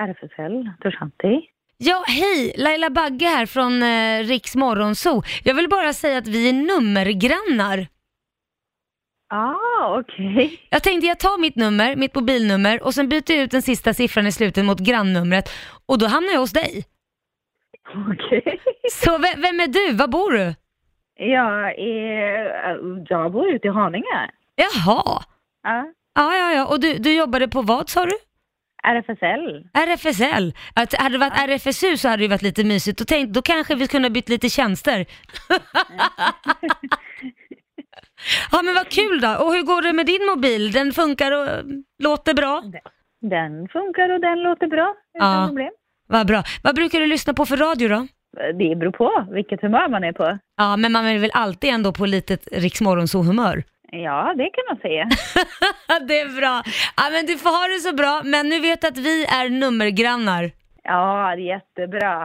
RFSL Dushanti. Ja, hej! Laila Bagge här från eh, Riks Morgonzoo. Jag vill bara säga att vi är nummergrannar. Ah, okej. Jag tänkte jag tar mitt nummer, mitt mobilnummer och sen byter jag ut den sista siffran i slutet mot grannnumret och då hamnar jag hos dig. Okej. Så ve- vem är du? Var bor du? Jag, är, jag bor ute i Haninge. Jaha! Ja. Ja, ja, ja. Och du, du jobbade på vad sa du? RFSL. RFSL. Att, hade det varit RFSU så hade det ju varit lite mysigt. Då, tänk, då kanske vi kunde ha bytt lite tjänster. ja men vad kul då. Och hur går det med din mobil? Den funkar och eh, låter bra? Den funkar och den låter bra. Utan Ja. problem. Vad bra. Vad brukar du lyssna på för radio då? Det beror på vilket humör man är på. Ja men man är väl alltid ändå på litet riksmorgonsohumör. Ja, det kan man säga. det är bra. Ja men du får ha det så bra. Men nu vet att vi är nummergrannar. Ja, det är jättebra.